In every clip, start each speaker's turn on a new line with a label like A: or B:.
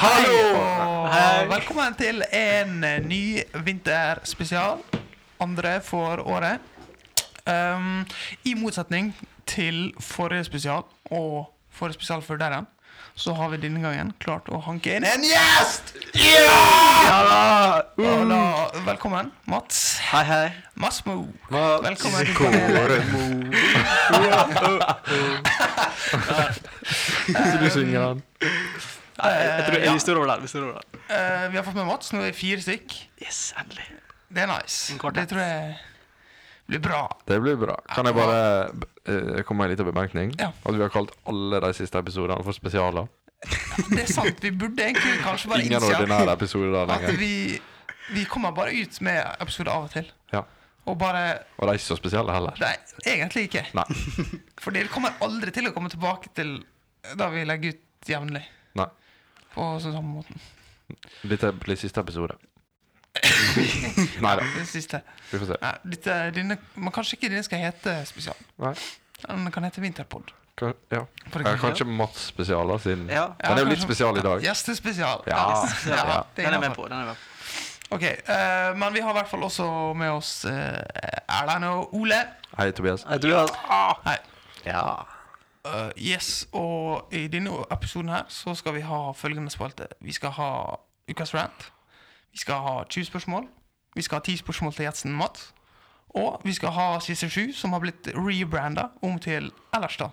A: Hallo!
B: Hei.
A: Velkommen til en eh, ny vinterspesial. Andre for året. Um, I motsetning til forrige spesial og forrige spesial før der igjen, så har vi denne gangen klart å hanke inn en gjest! Ja! Og da, velkommen, Mats.
B: Mm. Hei, hei.
A: Masmo.
B: Mats
A: Velkommen Eh, til panelet.
C: Så du synger den.
B: Nei, jeg tror
A: Ja.
B: vi står over der. Vi står over der.
A: Eh, vi har fått med Mats. Nå er vi fire stykk.
B: Yes, endelig.
A: Det er nice.
B: En kvart,
A: Det
B: ja.
A: tror jeg blir bra.
C: Det blir bra. Kan jeg bare eh, komme med en liten bemerkning?
A: Ja.
C: At vi har kalt alle de siste episodene for spesialer.
A: Det er sant. Vi burde egentlig kanskje bare
C: Ingen
A: innse
C: ordinære episoder der
A: at
C: lenger.
A: vi, vi kommer bare ut med episoder av og til.
C: Ja.
A: Og bare
C: Og de er ikke så spesielle heller.
A: Nei, egentlig ikke.
C: Nei.
A: For dere kommer aldri til å komme tilbake til da vi legger ut jevnlig.
C: Nei.
A: På sånn samme måten.
C: Dette blir siste episode. Nei da.
A: Det siste.
C: Vi får se.
A: Nei, dette, denne, men kanskje ikke denne skal hete spesial.
C: Nei.
A: Den kan hete Vinterpod.
C: Kan, ja.
A: For
C: Eh, Kanskje Mats spesialer, siden
B: Ja.
C: Den er jo litt spesial i dag.
A: Gjestespesial.
B: Ah,
C: Ja.
A: Ja, det er
B: Den er jeg
A: innenfor.
B: med på. den er jeg med på.
A: Ok, eh, men vi har i hvert fall også med oss eh, Erlend og Ole.
C: Hei, Tobias.
B: Jeg tror jeg ah.
A: Hei.
B: Ja.
A: Eh, yes, og i denne episoden her så skal vi ha følgende spalte. Vi skal ha ukas rant. Vi skal ha 20 spørsmål. Vi skal ha 10 spørsmål til Jetsen Mats. Og vi skal ha siste sju, som har blitt rebranda om til ellers, da.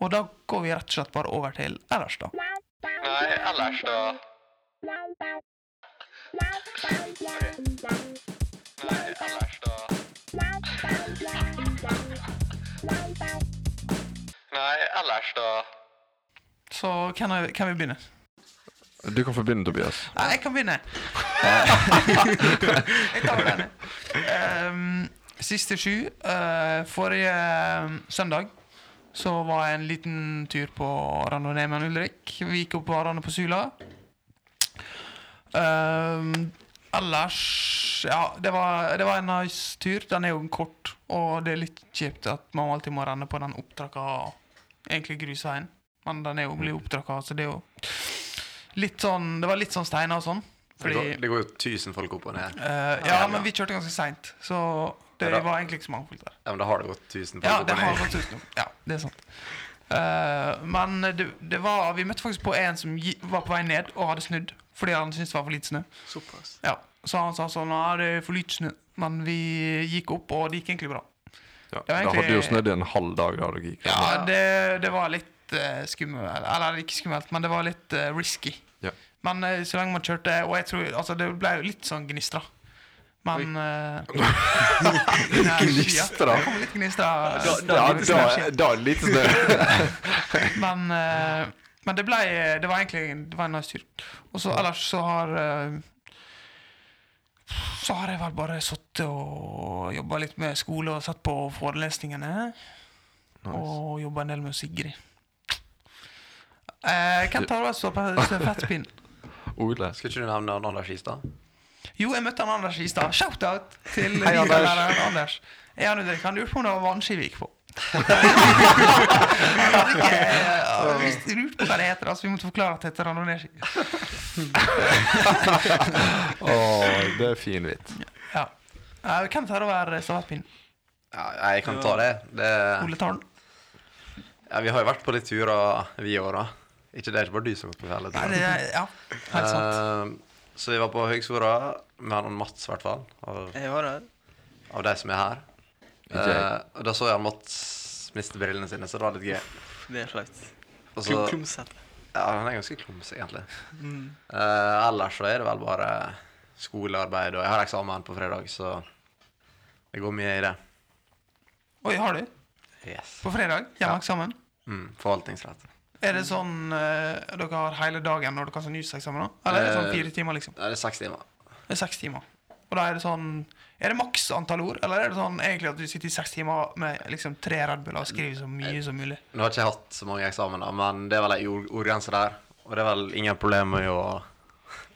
A: Og da går vi rett og slett bare over til ellers, da.
D: Nei, ellers da. Nei, ellers da. Nei, ellers da.
A: Så hvem er- hvem vil begynne?
C: Du kan få begynne, Tobias.
A: Nei, jeg kan begynne. jeg tar den. Ehm, siste sju. eh, forrige ehm, søndag så var jeg en liten tur på randonee med han Ulrik. Vi gikk opp varene på Sula. Ehm, ellers Ja, det var, det var en nice tur. Den er jo kort, og det er litt kjipt at man alltid må renne på den opptrakka, egentlig grusveien. Men den er jo blir opptrakka, så det er jo litt sånn Det var litt sånn steiner og sånn.
E: Det
A: Fordi
E: går- det går jo tusen folk opp og ned. Ja,
A: Eh, ja, men vi kjørte ganske seint, så det
E: Ja, da.
A: var egentlig ikke så mange folk der.
E: men da har det gått tusen folk
A: Ja,
E: opp
A: det
E: og
A: har
E: ned.
A: gått utenom. Ja, det er sant. Eh, men det, det var Vi møtte faktisk på en som gi, var på vei ned og hadde snudd fordi han syntes det var for lite snø.
B: Såpass.
A: Ja, Så han sa sånn Ja, det er for lite snø. Men vi gikk opp, og det gikk egentlig bra.
C: Ja.
A: var
C: Da
A: egentlig-
C: hadde du jo snødd i en halv dag da du gikk.
A: Ja, det, det var litt eh, skummelt. Eller ikke skummelt, men det var litt eh, risky.
C: Ja.
A: Men eh, så lenge man kjørte Og jeg tror Altså, det ble jo litt sånn gnistra. Men Gnistra? Det kom litt gnistra.
B: Da, da,
C: Ja, da, da litt snø.
A: Men, eh, men det ble eh, Det var egentlig en- det var en nice tur. Og så ellers så har eh, Så har jeg vel bare sittet og jobba litt med skole og sett på forelesningene. Og jobba en del med Sigrid. Eh, Hvem tar over stå- stafettpinnen?
C: Ole.
E: Skal ikke du nevne han Anders Istad?
A: Jo, jeg møtte han Anders i stad. Shout-out til
B: Hei, Anders.
A: Vikan-læreren Anders. Jeg hadde ikke, han lurte på om det var vannski vi gikk på. han hadde ikke eh, visst- lurt på hva det heter, altså vi måtte forklare at det heter randoneski.
C: Å, det er fin vits.
A: Ja. Eh, Hvem tar over stafettpinnen?
E: Ja, jeg kan ta det. det
A: Ole tar den.
E: ja, vi har jo vært på litt turer, vi òg, da. Ikke det er ikke bare du som har gått på fjellet.
A: Nei, det er, ja, helt sant.
E: Eh, så vi var på Høgskolen med han Mats, i hvert fall, av,
B: Jeg var der.
E: av de som er her.
C: Ikke jeg.
E: Eh, og da så jeg han Mats miste brillene sine, så det var litt gøy.
B: Det er flaut.
E: Og så-
B: Klum- Klumsete.
E: Ja, han er ganske klumsig, egentlig. Eh, ellers så er det vel bare skolearbeid, og jeg har eksamen på fredag, så det går mye i det.
A: Oi, har du?
E: Yes.
A: På fredag? Hjemmeeksamen?
E: Mm, forvaltningsrett.
A: Er det sånn eh, dere har hele dagen når dere har sånn nyseksamen? da? Eller er det sånn
E: Eh,
A: fire timer, liksom?
E: Ja, Det er seks timer.
A: Det er seks timer. Og da er det sånn Er det maks antall ord, eller er det sånn egentlig at du sitter i seks timer med liksom tre Red Buller og skriver så mye som mulig?
E: Nå har ikke jeg hatt så mange eksamener, men det er vel ei ord- ordgrense der. Og det er vel ingen problem med å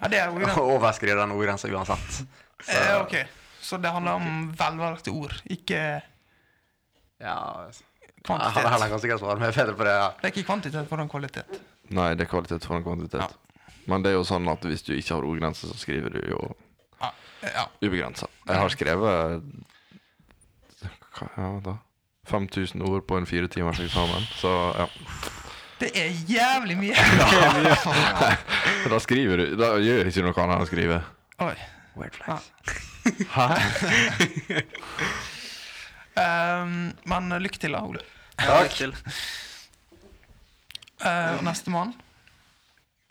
A: Ja, det er jo greit.
E: å overskride den ordgrensa uansett. Så
A: Eh, ok, Så det handler om velvalgte ord, ikke
E: ja, jeg hadde heller
A: kvantitet.
E: kanskje ikke svart meg bedre på det. ja.
A: Det er ikke kvantitet, men kvalitet.
C: Nei, det er kvalitet foran kvantitet. Men det er jo sånn at hvis du ikke har ordgrense, så skriver du jo
A: Ja, ja.
C: ubegrensa. Jeg har skrevet hva, ja, da 5000 ord på en fire timers eksamen, så ja.
A: Det er jævlig mye!
C: Da skriver du Da gjør ikke du noe annet enn å skrive.
A: Oi.
E: Weird flex.
A: Ja.
C: Hæ?
A: Ehm, men eh, lykke til, da, Ole.
B: Ja, lykke til.
A: Eh, og neste mann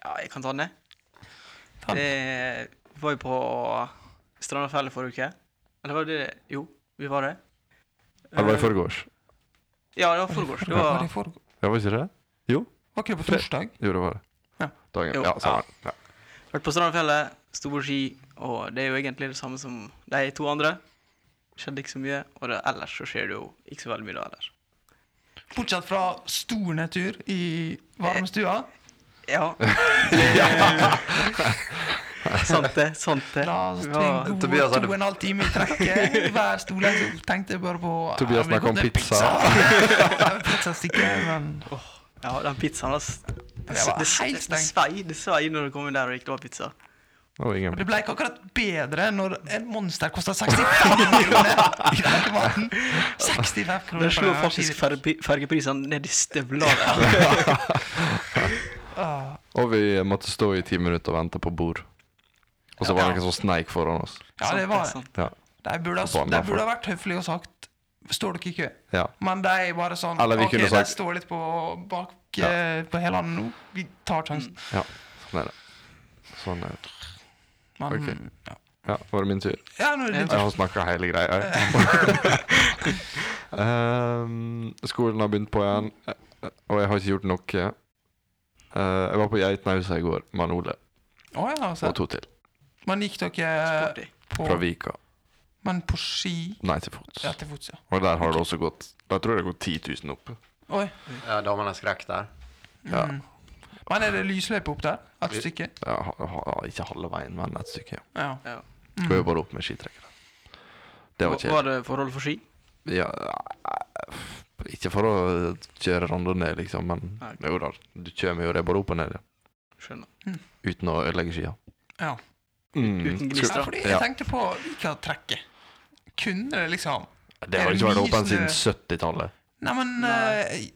B: Ja, jeg kan ta den, jeg.
A: Ta den.
B: Det var jo på Strandafjellet forrige uke. Eller var det det? Jo, vi var det.
C: Eller var det i forgårs?
B: Ja, det var forgårs. Det
A: Var
B: var
A: det i forgå-
C: Ja, var ikke det? Jo,
A: var ikke det på torsdag?
C: jo det var det.
A: Ja.
C: Dagen.
B: Jo.
C: Ja, samme. Ja.
B: Vært på Strandfjellet, sto på ski, og det er jo egentlig det samme som de to andre. Skjedde ikke så mye, og det, ellers så skjer det jo ikke så veldig mye da ellers.
A: Fortsatt fra stor nedtur i varmestua.
C: Eh,
B: Ja. sant det, sant det.
A: La oss til
B: Ja,
A: en god
E: Tobias hadde-
A: to og en halv time i trekket. Hver stolesol tenkte jeg bare på eh,
C: Tobias
A: ja, det blir
C: snakker om
A: godt med
C: pizza.
A: pizza. Pizzastykke, men
B: Ja, den pizzaen, ass. Det,
A: var
B: det,
A: helt
B: det, det
A: stengt.
B: svei, det svei når du kom inn der og ikke det var pizza.
C: Det var ingen
A: Det ble ikke akkurat bedre når en monster kosta 65 kroner i automaten. 65 kroner.
B: Det slo
A: for en
B: faktisk
A: skive.
B: ferge, fergeprisene ned i støvlene.
A: Ah,
C: Og vi måtte stå i ti minutter og vente på bord. Og så var det noen som sneik foran oss.
A: Ja,
B: Sånn,
A: det var det.
B: Sant,
C: Ja.
A: De burde, ha-
C: På banen,
A: de
C: da,
A: burde ha vært høflige og sagt Står dere i kø?
C: Ja.
A: Men de er bare sånn
C: Eller vi
A: Ok,
C: kunne
A: de
C: sagt-
A: står litt på bak
C: Ja.
A: eh, på Helland nå. Vi tar sjansen.
C: ja. Sånn er det. Sånn er det.
A: Men
C: Ok.
A: ja.
C: Ja, var det min tur?
A: ja, nå er det din
C: Jeg
A: tur.
C: har snakka hele greia. jeg. Ehm, skolen har begynt på igjen, og jeg har ikke gjort noe. Eh, jeg var på Geitnausa i går med han Ole
A: Å ja, altså.
C: og to til.
A: Men gikk dere eh,
B: Sporty.
A: på
C: Fra Vika.
A: Men på ski?
C: Nei, til fots.
A: Ja, til fots, ja.
C: Og der har det også gått Der tror jeg det har gått 10 000 opp.
A: Oi.
E: Ja, damene skrek der.
C: Ja.
A: Mm. Men er det lysløype opp der? Et
E: Vi-
A: stykke?
C: Ja, ha, ha, ikke halve veien, men et stykke. ja.
A: Ja.
B: Ja.
C: Går jo bare opp med skitrekkere. Det var
B: Var,
C: kjedelig.
B: var det forhold for ski?
C: Ja, eh, ikke for å kjøre randa ned, liksom, men
B: Nei.
C: jo da, du kommer jo det bare opp og ned ja,
B: Skjønner.
C: uten å ødelegge skia.
A: Ja.
C: Mm.
B: Uten
A: ja,
B: gnister.
A: fordi
C: Ja.
A: jeg tenkte på Ikke å trekke. Kunne det liksom
C: Det har ikke vært åpent siden 70-tallet.
A: Nei, men
B: Nei.
A: eh,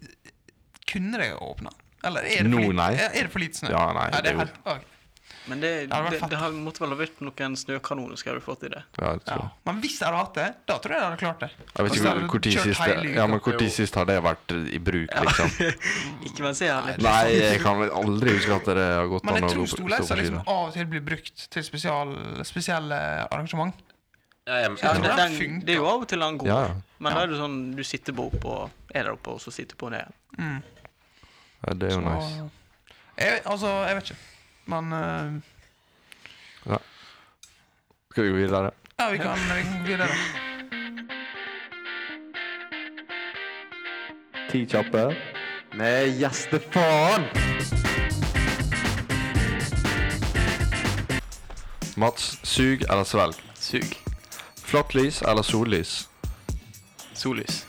A: Kunne det åpna? Eller er det,
C: Nå,
A: for lite,
C: nei.
A: er er det for lite snø?
C: Ja, nei,
A: Ja, det er
C: jo-
A: helt, ok.
B: Men det,
A: Ja, det var
B: det,
A: fett.
B: det har måtte vel ha vært noen snøkanoner skal du fått i det.
C: ja, jeg,
A: ja.
C: tror.
A: Men hvis jeg hadde hatt det, da tror jeg jeg hadde klart det.
C: jeg vet
A: Og så
C: ikke
A: hadde
C: hvor- hvor tid
A: kjørt
C: sist
A: hele
C: det- ja,
A: uka.
C: men hvor tid
E: Jo.
C: sist har det vært i bruk, liksom?
B: Ikke mens jeg har litt
C: Nei, jeg kan vel aldri huske at det har gått
A: Men
C: an å
A: jeg
C: gå
A: tror
C: på- stå på
A: storleiser
C: ski.
A: liksom
C: da.
A: av og til blir brukt til spesial, spesielle arrangement.
E: Ja, jeg,
B: ja,
A: tror
B: det,
A: den
B: den,
A: funker.
B: det er jo av og til han går.
C: Ja, ja.
B: Men
A: Ja.
B: da er det sånn du sitter på opp og er der oppe, og så sitter på ned igjen.
A: Mm.
C: ja, det er jo
A: Så-
C: nice.
A: Jeg, altså, jeg vet ikke. Men eh,
C: Skal vi gå videre?
A: ja, vi kan, vi kan gå videre.
C: Ti kjappe.
E: Med gjestefaen!
C: Mats, sug eller svelg?
B: Sug.
C: Flatt lys eller sollys?
B: Sollys.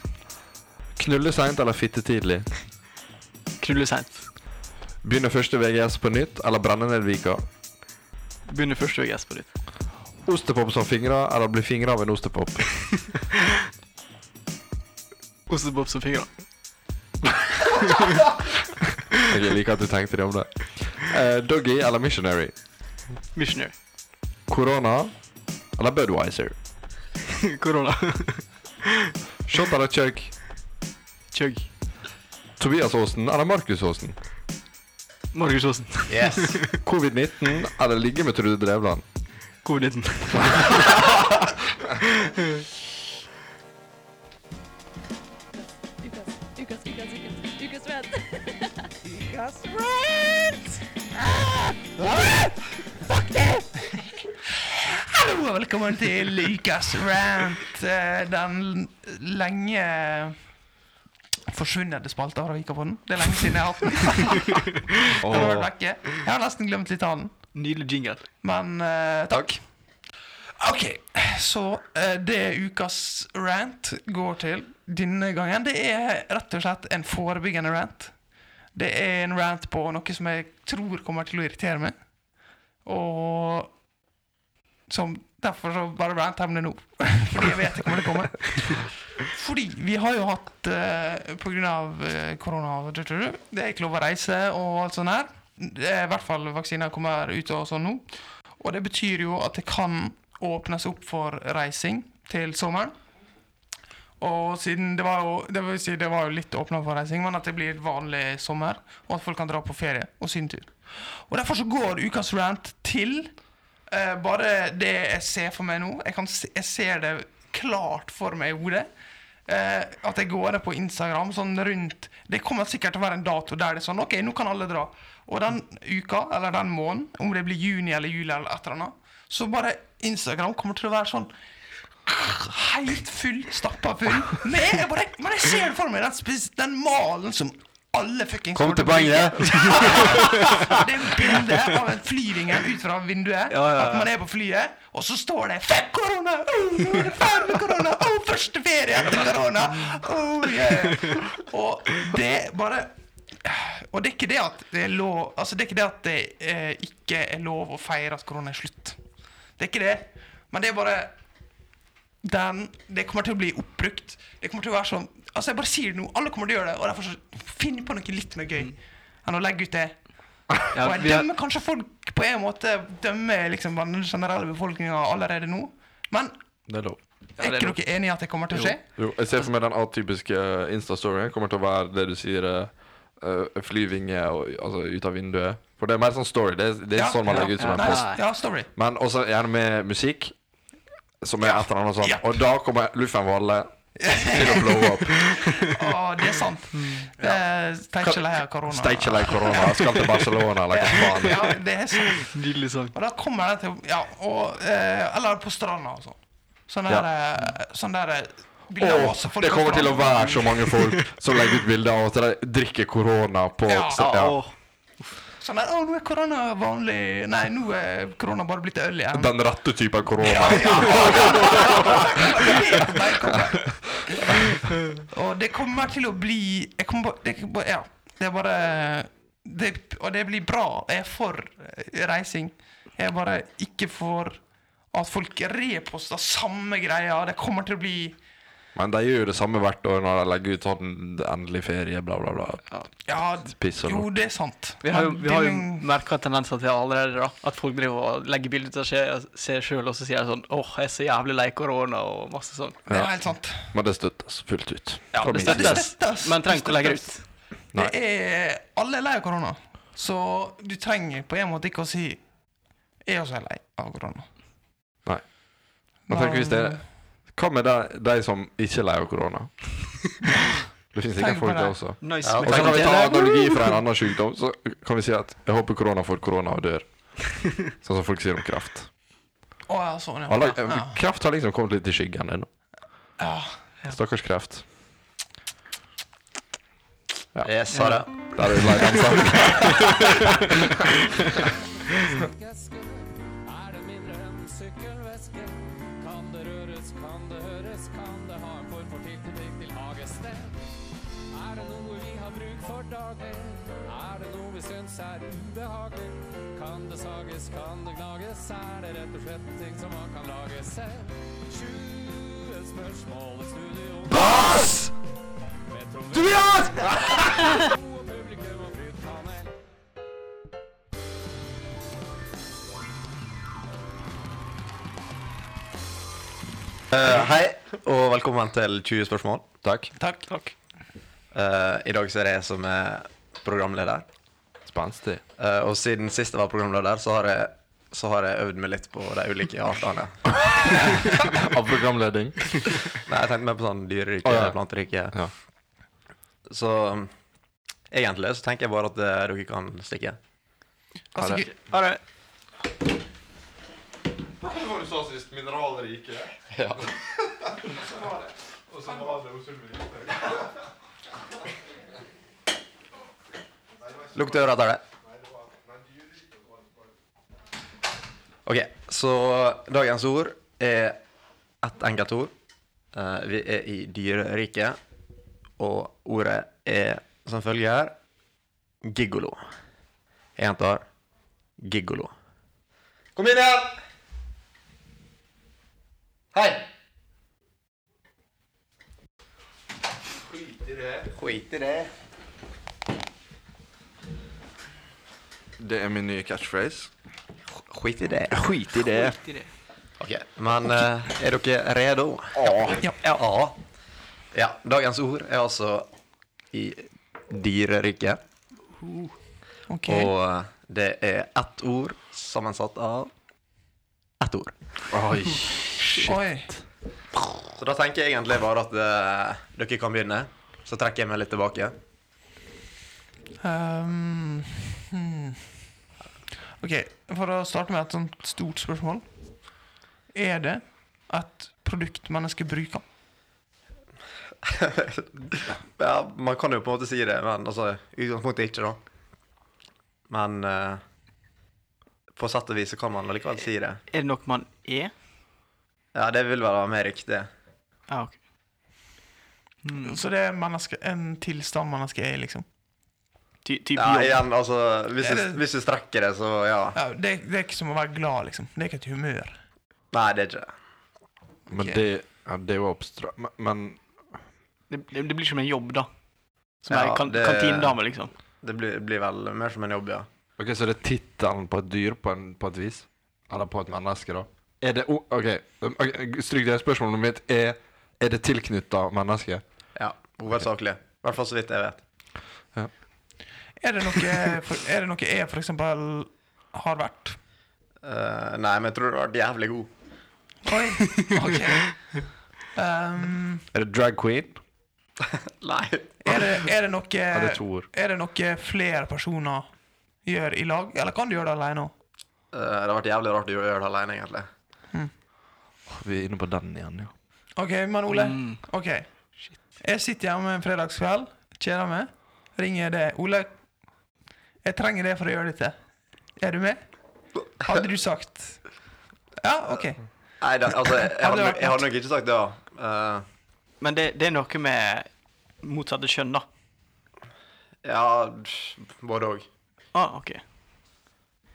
C: Knulle seint eller fitte tidlig?
B: Knulle seint.
C: Begynne første VGS på nytt eller brenne ned Vika?
B: Begynner første VGS på ditt.
C: Ostepop som fingre eller bli fingra av en ostepop?
B: Ostebob som fingre.
C: Jeg liker at du tenkte det om det. Eh, doggy eller Missionary?
B: Missionary.
C: Korona eller Budwiser?
B: Korona.
C: Shot eller chug?
B: Chug.
C: Tobias Aasen eller Markus Aasen?
B: Markus Aasen.
E: Yes.
C: Covid-19 eller ligge med Trude Drevland?
B: Covid-19.
F: Ukas, ukas, ukas, ukas, ukas rant.
A: Hallo og velkommen til Ukas rant. eh, Den lenge forsvunne spalta fra Vikapodden. Det er lenge siden jeg har hatt den. Den har vært vekke. Jeg har nesten glemt litt av den,
B: Nydelig jingle.
A: men eh, takk. OK, så eh, det ukas rant går til denne gangen, det er rett og slett en forebyggende rant. Det er en rant på noe som jeg tror kommer til å irritere meg. Og som Derfor så bare ranter jeg om det nå. Fordi jeg vet det kommer til å komme. Fordi vi har jo hatt eh, På grunn av eh, korona og du, du, du, Det er ikke lov å reise og alt sånt her. Det er i hvert fall vaksiner kommer ut og sånn nå. Og det betyr jo at det kan åpnes opp for reising til sommeren. Og siden det var jo, det vil si det var jo litt åpna for reising, men at det blir vanlig sommer, og at folk kan dra på ferie og sydentur. Og derfor så går ukas rant til eh, bare det jeg ser for meg nå. Jeg, kan se, jeg ser det klart for meg i hodet. Eh, at jeg går det på Instagram sånn rundt Det kommer sikkert til å være en dato der det er sånn OK, nå kan alle dra. Og den uka, eller den måneden, om det blir juni eller juli eller et eller annet, så bare Instagram kommer til å være sånn helt full, stappa full. Men jeg, bare, men jeg ser det for meg, den, spes- den malen som alle fuckings
E: Kom
A: kommer
E: til
A: å bruke.
E: poenget!
A: Det er bilde av en flyringer ut fra vinduet.
B: Ja, ja, ja.
A: At man er på flyet, og så står det 'Fuck korona! Oh, nå er det ferdig med korona! Oh, første ferie etter korona!' Oh, yeah. Og det bare Og det er ikke det at det er lov Altså, det er ikke det at det eh, ikke er lov å feire at korona er slutt. Det er ikke det. Men det er bare den, Det kommer til å bli oppbrukt. Det kommer til å være sånn Altså, jeg bare sier det nå. Alle kommer til å gjøre det. Og derfor så finn på noe litt mer gøy
B: Mm.
A: enn å legge ut det.
B: Ja,
A: Og jeg
B: vi har,
A: dømmer kanskje folk på en måte Dømmer liksom den generelle befolkninga allerede nå. Men
C: Det er lov.
A: er
B: det er
A: ikke dere enige i at det kommer til å skje?
C: Jo, jeg ser for meg den atypiske eh, Insta-storyen kommer til å være det du sier eh, Flyvinge og, altså, ut av vinduet. For det er mer sånn story. Det er, det er
A: Ja,
C: sånn man
A: ja,
C: legger ut som en
A: nei,
C: post.
A: Ja, story.
C: Men også gjerne med musikk, som er et eller annet sånn.
A: Ja.
C: Og da kommer Luffen Valle til å blow up.
A: Å, det er sant. Eh, Steikje lei av korona.
C: Steikje lei korona, skal til Barcelona eller hva faen.
A: Ja, det er sant.
B: Nydelig sang.
A: Og da kommer det til Ja, og eh, Eller på stranda og sånn. Sånn der, eh, sånn der eh, bilder av
C: Åh,
A: masse folk
C: det
A: på
C: kommer til å
A: stranden.
C: være så mange folk som legger ut bilder av at de drikker korona på
A: Ja.
C: så-
B: Ja,
C: ja.
B: åh.
A: Sånn der, å, nå er korona vanlig Nei, nå er korona bare blitt øl igjen.
C: Den rette typen korona.
A: Og det kommer til å bli jeg kommer, bare- det, kan bare- Ja, det er bare det, Og det blir bra. Jeg er for eh, reising. Jeg er bare ikke for at folk reposter samme greia. Det kommer til å bli
C: Men de gjør jo det samme hvert år når de legger ut sånn endelig ferie, bla, bla, bla.
A: Ja,
C: Piss og
A: jo,
C: lort.
A: det er sant.
B: Vi har jo,
A: Men
B: vi har jo
A: det-
B: merka tendenser til allerede, da. At folk driver og legger bilder av seg- seg sjøl, og så sier de sånn åh, jeg er så jævlig lei korona, og masse sånn.
A: Det er helt sant.
C: Men det støttes fullt ut.
B: Ja,
C: Fra
B: det
C: min side.
B: støttes,
A: støttes.
B: men trenger ikke å legge det ut.
C: Nei.
A: Det er, alle er lei av korona, så du trenger på en måte ikke å si 'Jeg er også er lei av korona'.
C: Nei. Men tenk hvis det er Hva med de, de som ikke er lei av korona? Det
A: Tenk
C: finnes sikkert
A: på
C: folk, det
A: det.
C: også.
B: Nice.
E: Ja,
C: Og så kan vi ta analogi fra en annen sykdom. Så kan vi si at jeg håper korona får korona og dør. Sånn som folk sier om kreft.
A: Å, ja, sånn, ja.
C: Alle,
A: ja.
C: kreft har liksom kommet litt i skyggen ennå.
A: ja.
C: Stakkars kreft.
E: Jeg sa det.
C: Der er vi lei den saken.
G: Er det mindre enn sykkelveske? Kan det røres, kan det høres, kan det ha en form for tilknytning til hagested? Er det noe vi har bruk for daglig? Er det noe vi syns er ubehagelig? Kan det sages, kan det gnages? Er det rett og slett ting som man kan lage selv? 20 spørsmål i studio. Bass! Tobias! publikum og flytpanel.
E: Eh, hei, og velkommen til 20 spørsmål. Takk.
A: Takk. Takk.
E: Eh, I dag så er det jeg som er programleder.
C: Spenstig.
E: Eh, og siden sist jeg var programleder, så har jeg, så har jeg øvd meg litt på de ulike artene.
C: Av programleding.
E: Nei, jeg tenkte mer på sånn dyrerike,
C: Å, ja.
E: planterike.
C: Ja.
E: Så um, egentlig så tenker jeg bare at eh, dere kan stikke.
A: Altså,
C: det.
A: gu-
B: Ha det.
C: Hva sa du sist? Mineralrike?
E: Ja.
C: Og så var det Osulvik.
E: Lukk døra etter det. OK, så dagens ord er ett enkelt ord. Eh, vi er i dyreriket, og ordet er som følger Gigolo. Jeg gjentar gigolo. Kom inn igjen! Hei! Skit i det.
C: Det er min nye catchphrase.
E: Skit i det.
C: Skit i det.
B: Skit i det.
E: Ok, men eh, er dere redo? Ja. ja. Ja, Dagens ord er altså i dyreriket.
A: OK.
E: Og eh, det er ett ord sammensatt av ett ord.
C: Oi.
A: Oi.
E: Så da tenker jeg egentlig bare at eh, dere kan begynne. Så trekker jeg meg litt tilbake.
A: Ehm, hmm. OK, for å starte med et sånt stort spørsmål. Er det et produkt mennesker bruker?
E: ja, man kan jo på en måte si det, men altså, i utgangspunktet ikke, da. Men eh, på sett og vis så kan man allikevel si det.
B: Er det noe man er?
E: Ja, det vil være mer riktig.
B: Ja, Ah, ok. Mm.
A: Så det er menneske, en tilstand mennesket er i, liksom?
B: Ty type
E: Ja,
B: jobb.
E: igjen, altså, hvis
A: Er
E: du,
A: det-
E: hvis du strekker det, så ja.
A: Ja, det, det er ikke som å være glad, liksom. Det er ikke et humør.
E: Nei, det er ikke det.
C: Men
A: Ok.
C: det ja, Det er jo abstrakt. Men, men
B: Det, det, det blir som en jobb, da. Som
E: Ja,
B: ei kan
E: det-
B: kantinedame, liksom.
E: Det blir, blir vel mer som en jobb, ja.
C: Ok, Så det er tittelen på et dyr på, en, på et vis? Eller på et menneske, da? Er det o- OK, um, ok, stryk det. Spørsmålet mitt er Er det tilknytta mennesket?
E: Ja, Hovedsakelig. I hvert fall så vidt jeg vet.
A: Er det noe, for, er det noe jeg for eksempel har vært?
E: Eh, nei, men jeg tror du har vært jævlig god.
A: Oi, ok. Ehm,
C: Er det drag queen?
E: Nei.
A: er, det, er, det noe,
C: Ja, det er to ord.
A: er det noe flere personer gjør i lag, eller kan du gjøre det alene òg?
E: Eh, det har vært jævlig rart å gjøre det alene, egentlig.
C: Vi er inne på den igjen, ja.
A: OK, men Ole.
B: Mm.
A: Ok. Jeg sitter hjemme en fredagskveld, kjeder meg. Ringer det Ole, jeg trenger det for å gjøre dette. Er du med? Hadde du sagt Ja, OK.
E: Nei, da, altså, jeg, jeg, hadde,
A: Hadde
E: nok-
A: vært-
E: jeg hadde nok ikke sagt det, da. Eh,
B: Men det, det er noe med motsatte kjønn, da.
E: ja, pff, både òg.
B: Ah, ok.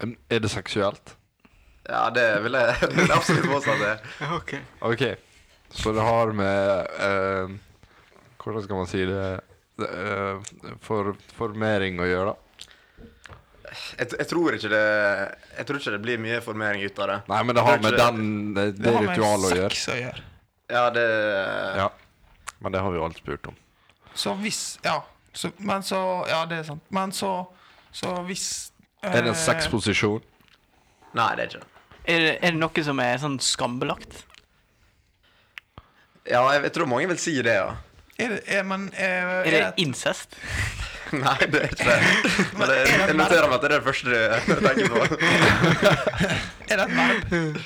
C: Um, Er det seksuelt?
E: Ja, det vil jeg, det vil jeg absolutt påstå at det er.
B: Ok.
C: OK. Så det har med eh, Hvordan skal man si det? det eh, for, formering å gjøre, da?
E: Jeg, jeg tror ikke det Jeg tror ikke det blir mye formering ut av det.
C: Nei, men det har
E: Det er
C: med
E: ikke-
C: den, det, det ritualet å gjøre.
A: sex å gjøre.
E: Ja, det
C: Ja. Men det har vi jo alt spurt om.
A: Så hvis Ja, så, men så Ja, det er sant. Men så Så hvis eh,
C: Er det en sexposisjon?
E: Nei, det er ikke det.
B: Er det, er det noe som er sånn skambelagt?
E: Ja, jeg, jeg tror mange vil si det, ja.
A: Er det, er, men eh, er,
B: Er det incest?
E: Nei, det er ikke det. Men det, jeg noterer meg at det er det første jeg tenker på.
A: er det et verb?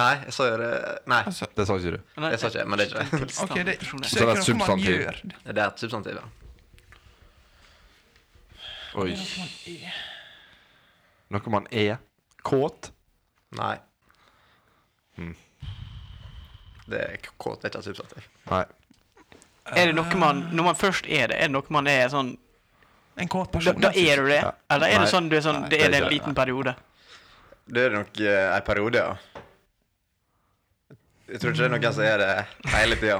E: Nei, jeg sa jo det Nei,
A: Altså,
C: Det sa ikke du.
B: Nei,
E: jeg sa ikke det, men det er ikke det.
A: OK, det er
B: Tilstand,
A: ikke
C: Så
A: sikkert noe
C: det er
A: man
C: substantiv.
A: gjør.
E: Det er et substantiv, ja.
C: Oi. Noe man er. Kåt.
E: Nei.
C: Hmm.
E: Det er k- kåt, det er ikke et substantiv.
C: Nei.
B: Er det noe man, når man først er det, er det noe man er sånn
A: En kåt
B: Da,
A: person.
B: da er du det?
C: Ja.
B: Eller er det
C: Nei.
B: sånn du er sånn,
C: Nei,
B: det
C: det
B: er
C: er
B: det en
C: ikke det.
B: liten periode?
E: Det er nok eh, en periode, ja. Jeg tror ikke det er noen som er det hele tida.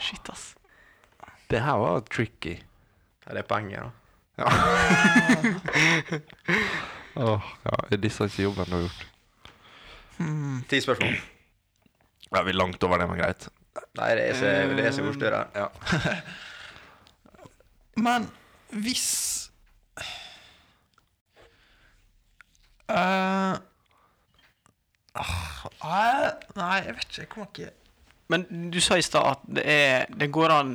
B: Shit, ass.
C: Det her var tricky.
E: Ja, det er poenget, da.
C: Åh, ja, jeg disser ikke jobben du har gjort.
E: Ti spørsmål.
C: Ja, vi er langt over det, men greit.
E: Nei, det er så, det er så bortstyr
B: Eh.
E: her.
C: Ja.
A: Men hvis Eh, ah, eh, Nei, jeg vet ikke. Jeg kommer ikke
B: Men du sa i stad at det, er, det går an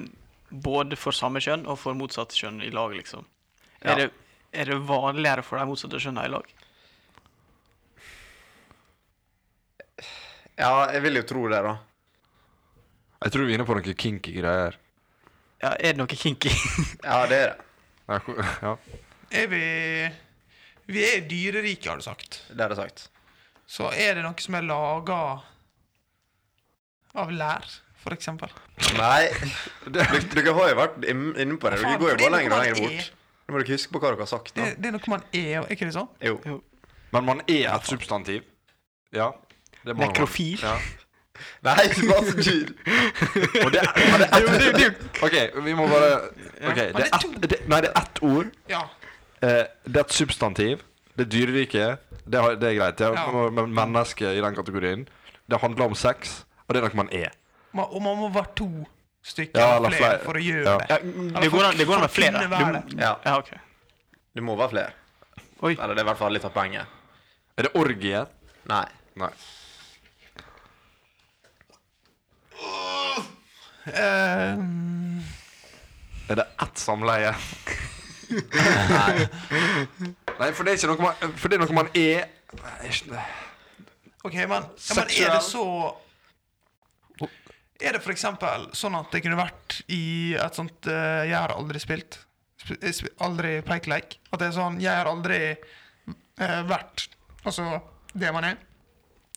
B: både for samme kjønn og for motsatt kjønn i lag, liksom.
E: Ja.
B: Er, det, er det vanligere for de motsatte kjønnene i lag?
E: Ja, jeg vil jo tro det, da.
C: Jeg tror vi er inne på noen kinky greier.
B: Ja, er det noe kinky?
E: Ja, det er det.
C: Ja, ko- ja.
A: Er vi Vi er dyrerike, har du sagt.
E: Det er det sagt.
A: Så er det noe som er laga av lær, for eksempel.
E: Nei, dere, dere har jo vært inn- inne på det. Dere
A: Faen,
E: går jo
A: det er
E: bare lenger og
A: noe man
E: lenger bort. Nå må dere huske på hva dere har sagt.
A: Det,
E: da.
A: det er noe man er, er ikke det sånn?
E: Jo.
B: Jo.
C: Men man er et substantiv. Ja. Det må man.
B: Nekrofil.
C: Ja.
E: Nei, Sebastian, du
C: Og det, men det, er ett- OK, vi må bare
A: Men
C: Ok, det
A: det
C: er
A: er to.
C: ett det- Nei, det er ett ord.
A: Ja.
C: Eh, det er et substantiv. Det er dyreriket. Det, har- det er greit. Det er,
A: Ja.
C: Men menneske i den kategorien. Det handler om sex, og det er noe man er.
A: Man, og man må være to stykker
C: Ja, eller
A: eller flere
C: flere.
A: for å gjøre
C: Ja.
A: det.
B: Ja, det går an det går an å være flere. Mm.
A: Kunne være
B: Du-
E: Ja,
B: Ja, OK.
E: det må være flere.
B: Oi.
E: Eller det er i hvert fall litt av poenget.
C: Er det orgie?
E: Nei.
C: Nei.
A: Eh,
C: Er det ett samleie? Nei, for det er ikke noe man, for det er noe man er Nei, det er ikke det.
A: OK, men, ja, men er det så Er det for eksempel sånn at det kunne vært i et sånt eh, 'jeg har aldri spilt', sp- eh, sp- aldri pekeleik? At det er sånn 'jeg har aldri eh, vært' Altså det man er?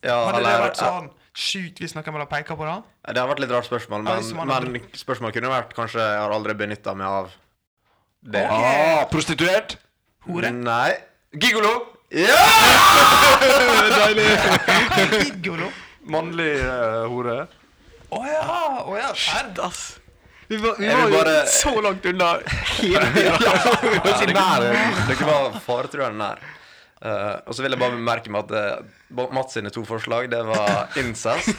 E: Ja,
A: Hadde det
E: eller-
A: vært sånn Sjukt hvis noen ville peke på det?
E: Ja, Det har vært litt rart spørsmål,
A: Ja,
E: men,
A: hvis man hadde-
E: men spørsmålet kunne vært kanskje jeg har aldri benytta meg av det.
A: Ok.
C: Ah, prostituert?
A: Hore?
C: Mm.
E: Nei.
C: Gigolo?
E: Ja!
A: Gigolo?
C: Mannlig eh, hore?
A: Å ja! Å ja! Her.
B: Ass. Vi var, vi
E: Jeg
B: var
E: vil
B: jo
E: bare-
B: så langt unna hele tida.
E: Dere var faretruende nær. Eh, og så vil jeg bare bemerke meg at uh, Mats sine to forslag, det var incest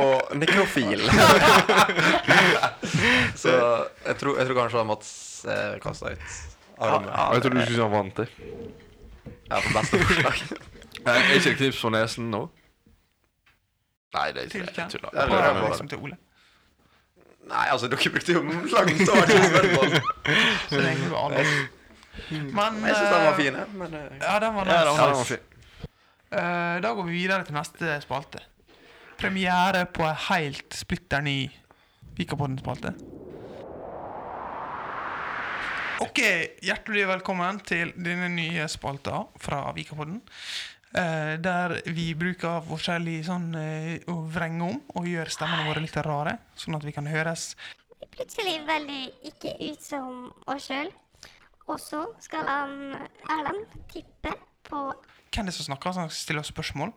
E: og nekrofil. så jeg tror, jeg tror kanskje Mats uh, kasta ut av rommet.
C: Jeg trodde du skulle si han vant det.
E: Ja, for beste forslag.
C: Eh, Er ikke det knips på nesen nå? Nei, det er
A: Til
C: ikke
A: hvem?
C: det. Jeg
E: Ja,
C: tuller.
E: det
A: Bare
E: er bra.
A: liksom til Ole.
E: Nei, altså, dere brukte jo langt over to spørsmål.
A: Så det er egentlig bare alle. Men
E: Jeg syns den var
A: eh,
E: fin, jeg, men eh,
A: Ja, den var
C: Ja,
A: nice.
C: den var fin.
A: Eh, da går vi videre til neste spalte. Premiere på en helt splitter ny Vikapodden-spalte. OK, hjertelig velkommen til denne nye spalta fra Vikapodden. eh, der vi bruker forskjellig sånn eh, å vrenge om og gjøre stemmene våre litt rare, sånn at vi kan høres
H: plutselig veldig ikke ut som oss sjøl. Og så skal han Erlend tippe på
A: hvem det er som snakker, så han stiller oss spørsmål.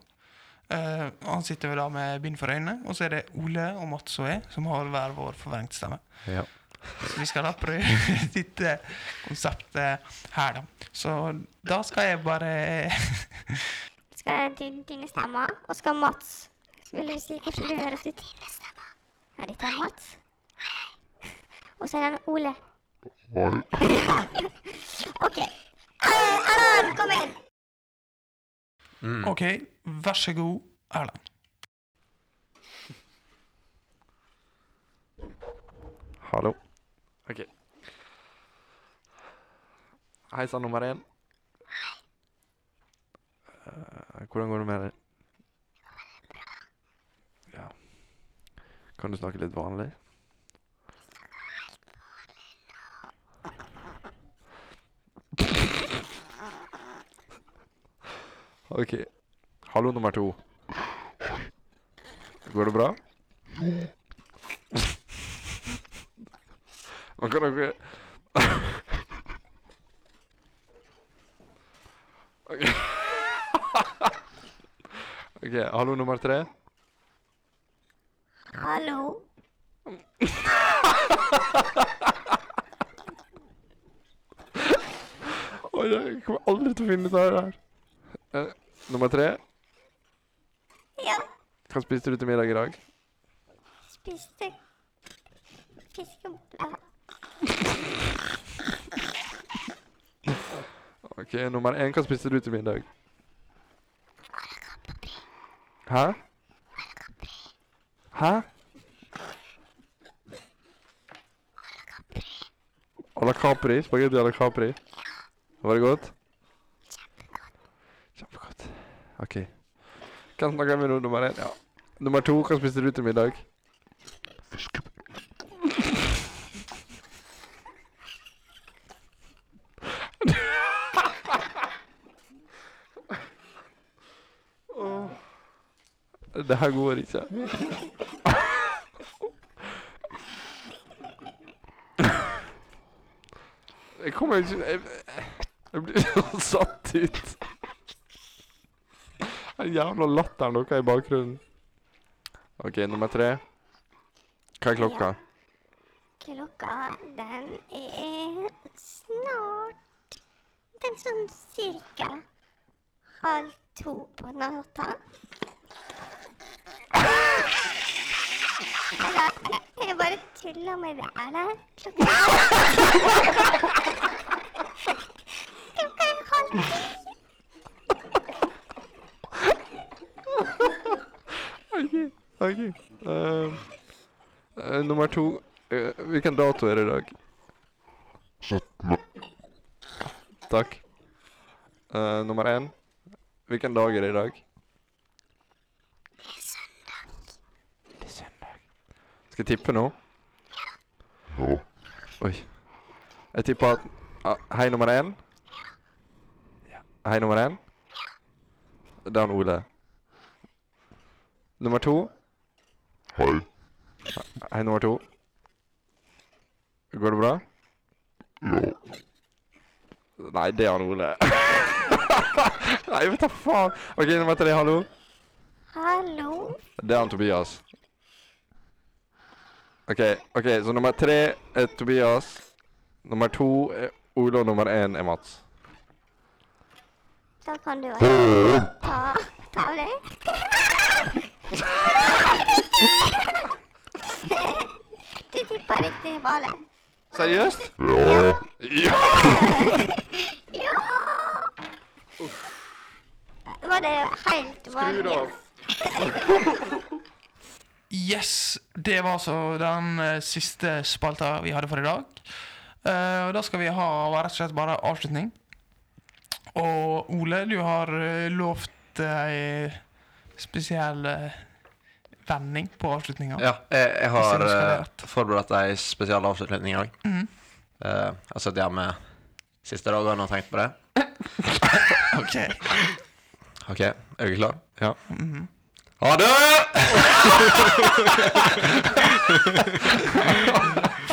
A: Eh, han sitter jo da med bind for øynene, og så er det Ole og Mats og jeg som har hver vår forvrengt stemme.
C: Ja.
A: Så vi skal da prøve dette konseptet eh, her, da. Så da skal jeg bare
H: skal jeg din, dine stemmer, og skal Mats Vil du si hvordan du høres ut? Dine stemmer. Ja, dette er Mats. Og så er det Ole. OK. Eh, Erlend, kom igjen!
A: OK, vær så god, Erlend.
C: Hallo. Ok. Hei sann, nummer én. Eh, hvordan går det med deg? Ja. Kan du snakke litt vanlig? OK. Hallo, nummer to. Går det bra? Man kan dere Ok. OK. Hallo, nummer tre.
H: Hallo.
C: Oi, jeg kommer aldri til å finne ut av det her. Eh, nummer tre.
H: Ja,
C: Hva spiste du til middag i dag?
H: spiste fiskeblader.
C: OK, nummer én. Hva spiste du til middag? Hæ? Hæ? À la Capri? Spagetti à la Capri? Var det godt? Kjempegodt. OK. Hvem snakker vi med nå? Nummer én? Ja. Nummer to. Hva spiste du til middag? Det her går ikke. Jeg kommer ikke Jeg, jeg blir så satt ut. Den jævla latteren deres i bakgrunnen. OK, nummer tre. Hva er klokka?
H: Klokka, den er snart Den er sånn cirka halv to på natta. Eller, Jeg bare tuller med det her. da. Klokka Klokka er halv ti.
C: OK. ehm, eh, nummer to. eh, hvilken dato er det i dag? 17. Takk. Eh, nummer én. Hvilken dag er det i dag? Skal jeg tippe nå? Oi. Jeg tipper at ah, Hei, nummer én. Hei, nummer én. Det er han Ole. Nummer to. Hei. Hei, nummer to. Går det bra? Ja. Nei, det er han Ole. Nei, vet da faen. OK, nummer tre. Hallo.
H: Hallo.
C: Det er han Tobias. OK, ok, så nummer tre er Tobias. Nummer to er Ole, og nummer én er Mats.
H: Da kan du bare ta, ta av deg. Du tippa riktig ballen.
C: Seriøst?
H: var det helt vanlig.
A: Yes, det var altså den eh, siste spalta vi hadde for i dag. Eh, og da skal vi ha rett og slett bare avslutning. Og Ole, du har eh, lovt ei spesiell eh, vending på avslutninga.
E: Ja, jeg, jeg
A: Hvis
E: har
A: det nå skal
E: eh,
A: være rett.
E: forberedt ei spesial avslutning i dag. Eh, jeg har sittet hjemme siste dagene og tenkt på det. OK, er du klar?
C: Ja.
E: Ha det!